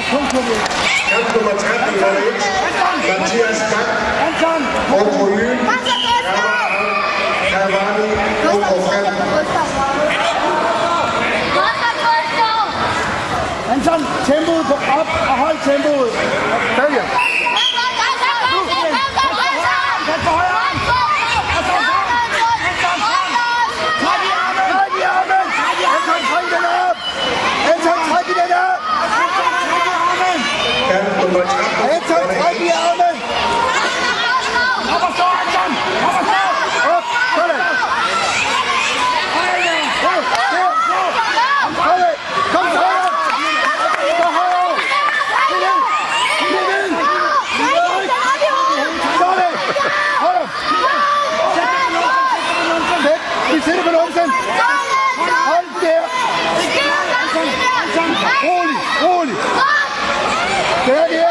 Kamp nummer 13 var det Mathias Gang og på ny. Her var det og på kanten. Anton, tempoet går op, og hold tempoet. Følger. Sæt på højre arm. Træk i armen. Træk i armen. Anton, træk den op. Anton, træk i den op. Anton, træk i armen. Kamp nummer 13 Anton, var træk i det armen. Op og stå, Anton. Op og stå. Op. Sådan. Højre. Høj, der, der. Højre. Kom til højre. Til højre. Kom ind. Kom ind. Sådan. Højre. Sæt. Vi sætter på numsen. Hold der. Rolig, rolig. Det er det.